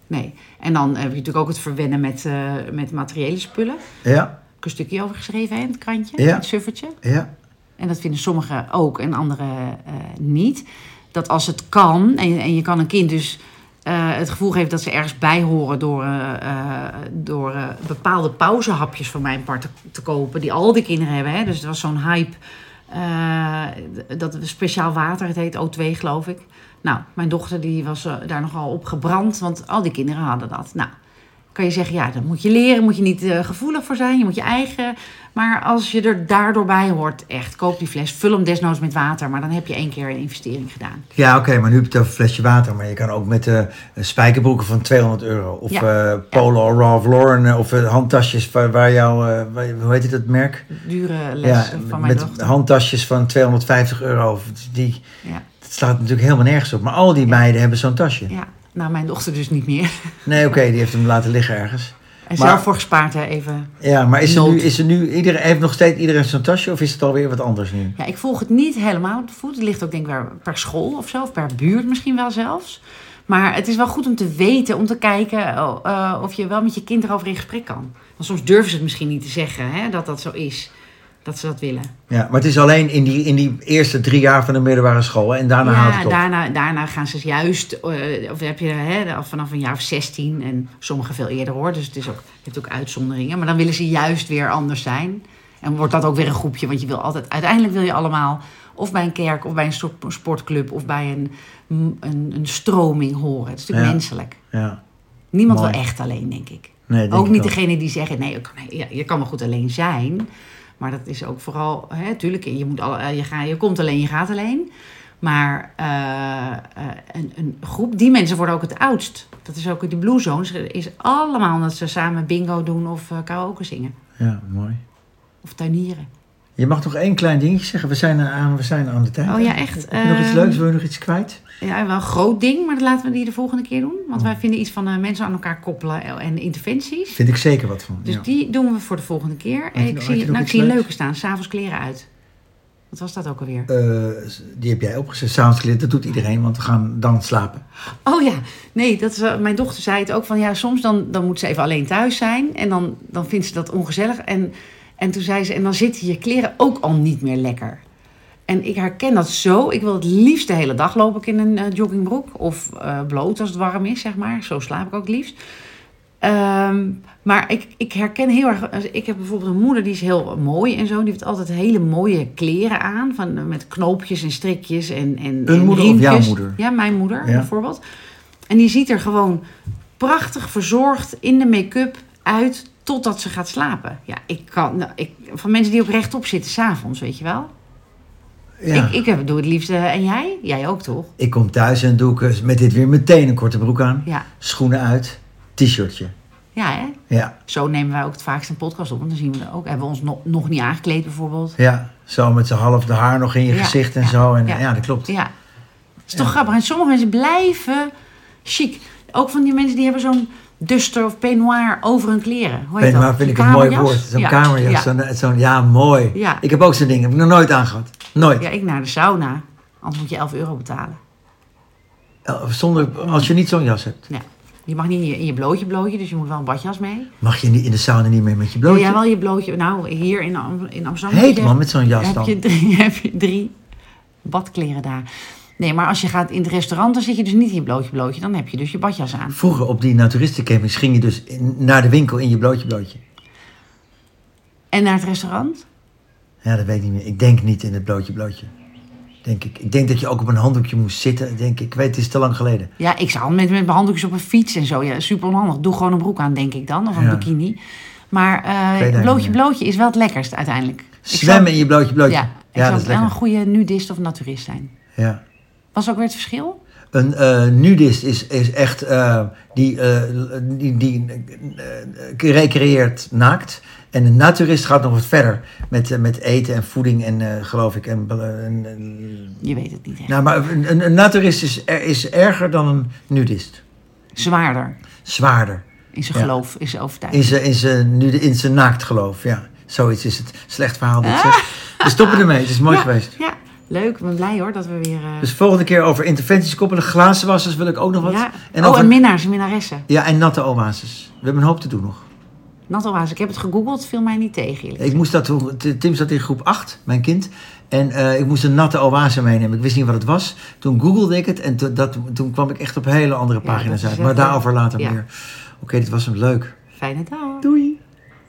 Speaker 2: Nee. En dan heb je natuurlijk ook het verwennen met, eh, met materiële spullen. Daar
Speaker 1: Ja,
Speaker 2: heb ik een stukje over geschreven hè, in het krantje,
Speaker 1: Ja.
Speaker 2: in het suffertje.
Speaker 1: ja.
Speaker 2: En dat vinden sommigen ook en anderen eh, niet. Dat als het kan, en, en je kan een kind dus eh, het gevoel geven dat ze ergens bij horen door, eh, eh, door eh, bepaalde pauzehapjes van mijn part te, te kopen, die al die kinderen hebben. Hè? Dus het was zo'n hype. eh, d- dat speciaal water, het heet O2 geloof ik. Nou, mijn dochter die was eh, daar nogal op gebrand, want al die kinderen hadden dat. Nou, kan je zeggen, ja, dat moet je leren, moet je niet eh, gevoelig voor zijn, je moet je eigen. Maar als je er daardoor bij hoort, echt, koop die fles, vul hem desnoods met water, maar dan heb je één keer een investering gedaan.
Speaker 1: Ja, oké, maar nu heb je het over een flesje water. Maar je kan ook met eh, spijkerbroeken van 200 euro. Of
Speaker 2: Ja.
Speaker 1: eh, Polo Ralph Lauren. eh, Of eh, handtasjes waar, waar jouw... eh, waar- hoe heet het, dat merk?
Speaker 2: Dure les eh, van mijn
Speaker 1: met
Speaker 2: dochter.
Speaker 1: handtasjes van 250 euro. Of die,
Speaker 2: Ja,
Speaker 1: dat slaat natuurlijk helemaal nergens op. Maar al die meiden hebben zo'n tasje.
Speaker 2: ja. Nou, mijn dochter dus niet meer.
Speaker 1: Nee, oké, die heeft hem laten liggen ergens.
Speaker 2: En
Speaker 1: Maar-
Speaker 2: zelf voor gespaard, hè, even.
Speaker 1: Ja, maar is er
Speaker 2: Nood.
Speaker 1: nu, is er nu iedereen, heeft nog steeds iedereen zo'n tasje of is het alweer wat anders nu?
Speaker 2: Ja, ik volg het niet helemaal op de voet. Het ligt ook denk ik per, per school of zo, of per buurt misschien wel zelfs. Maar het is wel goed om te weten, om te kijken oh, eh, of je wel met je kind erover in gesprek kan. Want soms durven ze het misschien niet te zeggen, hè, dat dat zo is. Dat ze dat willen.
Speaker 1: Ja, maar het is alleen in die, in die eerste drie jaar van de middelbare school hè, en daarna
Speaker 2: ja,
Speaker 1: houdt het op.
Speaker 2: daarna, daarna gaan ze juist, eh, of heb je hè, vanaf een jaar of 16 en sommigen veel eerder hoor. Dus het is ook, je hebt ook uitzonderingen. Maar dan willen ze juist weer anders zijn. En wordt dat ook weer een groepje, want je wil altijd, uiteindelijk wil je allemaal of bij een kerk of bij een soort sportclub of bij een, een, een stroming horen. Het is natuurlijk
Speaker 1: Ja.
Speaker 2: menselijk.
Speaker 1: Ja,
Speaker 2: Niemand
Speaker 1: Mooi.
Speaker 2: wil echt alleen, denk ik.
Speaker 1: nee, denk
Speaker 2: ook
Speaker 1: ik
Speaker 2: niet
Speaker 1: wel.
Speaker 2: degene die zeggen, nee, je kan, ja, je kan maar goed alleen zijn. Maar dat is ook vooral, hè, tuurlijk, je, moet alle, eh, je, ga, je komt alleen, je gaat alleen. Maar eh, eh, een, een groep, die mensen worden ook het oudst. Dat is ook in die Blue Zones, eh, is allemaal dat ze samen bingo doen of eh, karaoke zingen.
Speaker 1: Ja, mooi.
Speaker 2: Of tuinieren.
Speaker 1: Je mag nog één klein dingetje zeggen. We zijn aan, we zijn aan de tijd.
Speaker 2: Oh ja, echt.
Speaker 1: Heb je nog iets
Speaker 2: Ehm,
Speaker 1: leuks? Wil je nog iets kwijt?
Speaker 2: Ja, wel een groot ding, maar dat laten we die de volgende keer doen. Want
Speaker 1: Oh.
Speaker 2: wij vinden iets van eh, mensen aan elkaar koppelen en interventies.
Speaker 1: Vind ik zeker wat van.
Speaker 2: Dus
Speaker 1: ja.
Speaker 2: die doen we voor de volgende keer. En
Speaker 1: je-
Speaker 2: ik
Speaker 1: had
Speaker 2: zie,
Speaker 1: je nog
Speaker 2: nou, ik
Speaker 1: iets
Speaker 2: zie een
Speaker 1: leuks?
Speaker 2: leuke staan. S'avonds kleren uit. Wat was dat ook alweer?
Speaker 1: Eh, die heb jij opgezet. S'avonds geleerd. Dat doet iedereen, want we gaan dan slapen.
Speaker 2: Oh ja, nee, dat is, wel- mijn dochter zei het ook van... ja, soms dan, dan moet ze even alleen thuis zijn. En dan, dan vindt ze dat ongezellig. En, en toen zei ze, en dan zitten je kleren ook al niet meer lekker. En ik herken dat zo. Ik wil het liefst de hele dag loop ik in een eh, joggingbroek. Of eh, bloot als het warm is, zeg maar. Zo slaap ik ook het liefst. Ehm, maar ik, ik herken heel erg. eh, Ik heb bijvoorbeeld een moeder die is heel mooi en zo. Die heeft altijd hele mooie kleren aan. Van, eh, met knoopjes en strikjes en. en
Speaker 1: Een
Speaker 2: en
Speaker 1: moeder of jouw
Speaker 2: riempjes.
Speaker 1: moeder?
Speaker 2: Ja, mijn moeder
Speaker 1: Ja.
Speaker 2: bijvoorbeeld. En die ziet er gewoon prachtig verzorgd in de make-up uit. Totdat ze gaat slapen. Ja, ik kan. nou, ik, van mensen die ook rechtop zitten s'avonds, weet je wel.
Speaker 1: Ja.
Speaker 2: Ik, ik heb- doe het liefste. En jij? Jij ook toch?
Speaker 1: Ik kom thuis en doe ik eh, met dit weer meteen een korte broek aan.
Speaker 2: Ja,
Speaker 1: Schoenen uit. T-shirtje.
Speaker 2: ja hè?
Speaker 1: Ja,
Speaker 2: Zo nemen wij ook het vaakst een podcast op. Want dan zien we er ook. Hebben we ons nog, nog niet aangekleed bijvoorbeeld.
Speaker 1: ja. Zo met z'n half de haar nog in je
Speaker 2: Ja,
Speaker 1: gezicht en
Speaker 2: ja,
Speaker 1: zo. En, ja.
Speaker 2: ja.
Speaker 1: dat klopt.
Speaker 2: Ja. Dat is toch grappig. En sommige mensen blijven chic. Ook van die mensen die hebben zo'n duster of peignoir over hun kleren. Hoe heet
Speaker 1: Weet maar
Speaker 2: dat?
Speaker 1: vind ik
Speaker 2: Zo'n
Speaker 1: een mooi
Speaker 2: kamerjas?
Speaker 1: woord. Zo'n
Speaker 2: Ja.
Speaker 1: kamerjas.
Speaker 2: Ja.
Speaker 1: Zo'n, eh, zo'n- ja, mooi.
Speaker 2: Ja.
Speaker 1: Ik heb ook zo'n ding. Heb ik nog nooit aangehad. Nooit.
Speaker 2: Ja, ik naar de sauna. Anders moet je 11 euro betalen.
Speaker 1: Eh, Zonder, als je niet zo'n jas hebt.
Speaker 2: Ja. Je mag niet in je, in je blootje blootje, dus je moet wel een badjas mee.
Speaker 1: Mag je niet in de sauna niet meer met je
Speaker 2: Wil
Speaker 1: blootje?
Speaker 2: jij wel je blootje? Nou, hier in, Am- in Amsterdam... heb
Speaker 1: Heet
Speaker 2: je-
Speaker 1: man met zo'n jas
Speaker 2: heb
Speaker 1: dan.
Speaker 2: je, drie, heb je drie badkleren daar. Nee, maar als je gaat in het restaurant, dan zit je dus niet in je blootje blootje. Dan heb je dus je badjas aan.
Speaker 1: Vroeger op die naturistencampings ging je dus in- naar de winkel in je blootje blootje.
Speaker 2: En naar het restaurant?
Speaker 1: Ja, dat weet ik niet meer. Ik denk niet in het blootje blootje. Denk ik. Ik denk dat je ook op een handdoekje moest zitten. Ik Denk, ik weet, het is te lang geleden.
Speaker 2: Ja, ik zou met, met mijn handdoekjes op een fiets en zo. Ja, super onhandig. Doe gewoon een broek aan, denk ik dan. Of een
Speaker 1: Ja.
Speaker 2: bikini. Maar
Speaker 1: weet
Speaker 2: eh
Speaker 1: het
Speaker 2: blootje
Speaker 1: niet
Speaker 2: blootje is wel het lekkerst uiteindelijk. Ik
Speaker 1: Zwemmen
Speaker 2: zou-
Speaker 1: in je blootje blootje.
Speaker 2: Ja,
Speaker 1: Ja,
Speaker 2: ik zou
Speaker 1: dat is
Speaker 2: wel
Speaker 1: lekker.
Speaker 2: een goede nudist of naturist zijn.
Speaker 1: Ja.
Speaker 2: Was ook weer het verschil?
Speaker 1: Een eh, nudist is, is echt eh, die, eh, die, die eh, recreëert naakt. En een naturist gaat nog wat verder met, eh, met eten en voeding en eh, geloof ik. En, eh, en- en-
Speaker 2: Je weet het niet echt.
Speaker 1: nou, maar een, een- een naturist is, er- is erger dan een nudist.
Speaker 2: Zwaarder
Speaker 1: Zwaarder.
Speaker 2: in zijn
Speaker 1: Ja.
Speaker 2: geloof, in zijn overtuiging.
Speaker 1: In zijn, in zijn, nu de, in zijn naakt geloof, ja. Zoiets is het. Slecht verhaal dit zeg. We stoppen ermee, het is mooi
Speaker 2: Ah. ja,
Speaker 1: geweest.
Speaker 2: Ja, leuk. Ik ben blij hoor dat we weer... eh,
Speaker 1: Dus volgende keer over interventies koppelen, glazenwassers wil ik ook nog wat.
Speaker 2: ja.
Speaker 1: En
Speaker 2: oh,
Speaker 1: over,
Speaker 2: en minnaars en minnaressen.
Speaker 1: ja, en natte oases. We hebben een hoop te doen nog.
Speaker 2: Nattelwaas, ik heb het gegoogeld, viel mij niet tegen. eerlijk
Speaker 1: Ik moest dat, toen- Tim zat in groep 8, mijn kind. En eh, ik moest een natte oase meenemen. Ik wist niet wat het was. Toen googelde ik het en toen- dat, toen kwam ik echt op hele andere
Speaker 2: Ja,
Speaker 1: pagina's
Speaker 2: dat is
Speaker 1: uit.
Speaker 2: echt
Speaker 1: Maar daarover
Speaker 2: leuk.
Speaker 1: later
Speaker 2: Ja.
Speaker 1: meer. Oké, dit was hem leuk.
Speaker 2: gezegd. Fijne dag.
Speaker 1: Doei.